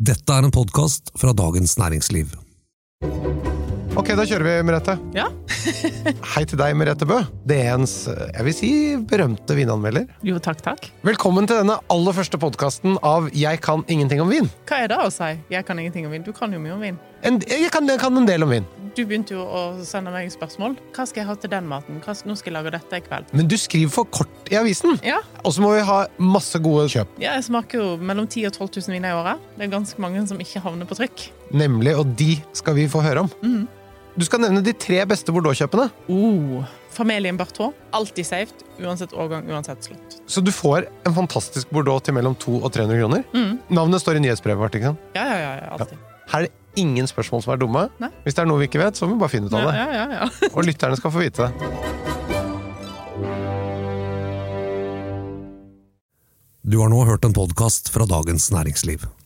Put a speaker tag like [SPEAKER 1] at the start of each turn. [SPEAKER 1] Dette er en podkast fra Dagens Næringsliv.
[SPEAKER 2] Ok, da kjører vi, Merete.
[SPEAKER 3] Ja.
[SPEAKER 2] Hei til deg, Merete Bø. DNs, jeg vil si, berømte vinanmelder.
[SPEAKER 3] Jo, takk, takk.
[SPEAKER 2] Velkommen til denne aller første podkasten av Jeg kan ingenting om vin.
[SPEAKER 3] Hva er det å si? Jeg kan ingenting om vin. Du kan jo mye om vin.
[SPEAKER 2] En, jeg, kan, jeg kan en del om vin.
[SPEAKER 3] Du begynte jo å sende meg spørsmål. Hva skal jeg ha til den maten? Hva, nå skal jeg lage dette i kveld.
[SPEAKER 2] Men du skriver for kort i avisen.
[SPEAKER 3] Ja,
[SPEAKER 2] Og så må vi ha masse gode kjøp.
[SPEAKER 3] ja jeg smaker jo mellom 10 000 og 12 000 viner i året. Det er ganske mange som ikke havner på trykk.
[SPEAKER 2] Nemlig, og de skal vi få høre om.
[SPEAKER 3] Mhm.
[SPEAKER 2] Du skal nevne de tre beste Bordeaux-kjøpene.
[SPEAKER 3] Oh. Familien Barthaud. Alltid safe. Uansett årgang, uansett slutt.
[SPEAKER 2] Så du får en fantastisk Bordeaux til mellom 200 og 300 kroner.
[SPEAKER 3] Mhm.
[SPEAKER 2] Navnet står i nyhetsbrevet vårt. ikke sant?
[SPEAKER 3] Ja, ja, ja. ja, Alltid.
[SPEAKER 2] Her er det ingen spørsmål som er dumme.
[SPEAKER 3] Nei.
[SPEAKER 2] Hvis det er noe vi ikke vet, så må vi bare finne ut av
[SPEAKER 3] Ja,
[SPEAKER 2] det.
[SPEAKER 3] ja, ja, ja.
[SPEAKER 2] Og lytterne skal få vite det.
[SPEAKER 1] Du har nå hørt en podkast fra Dagens Næringsliv.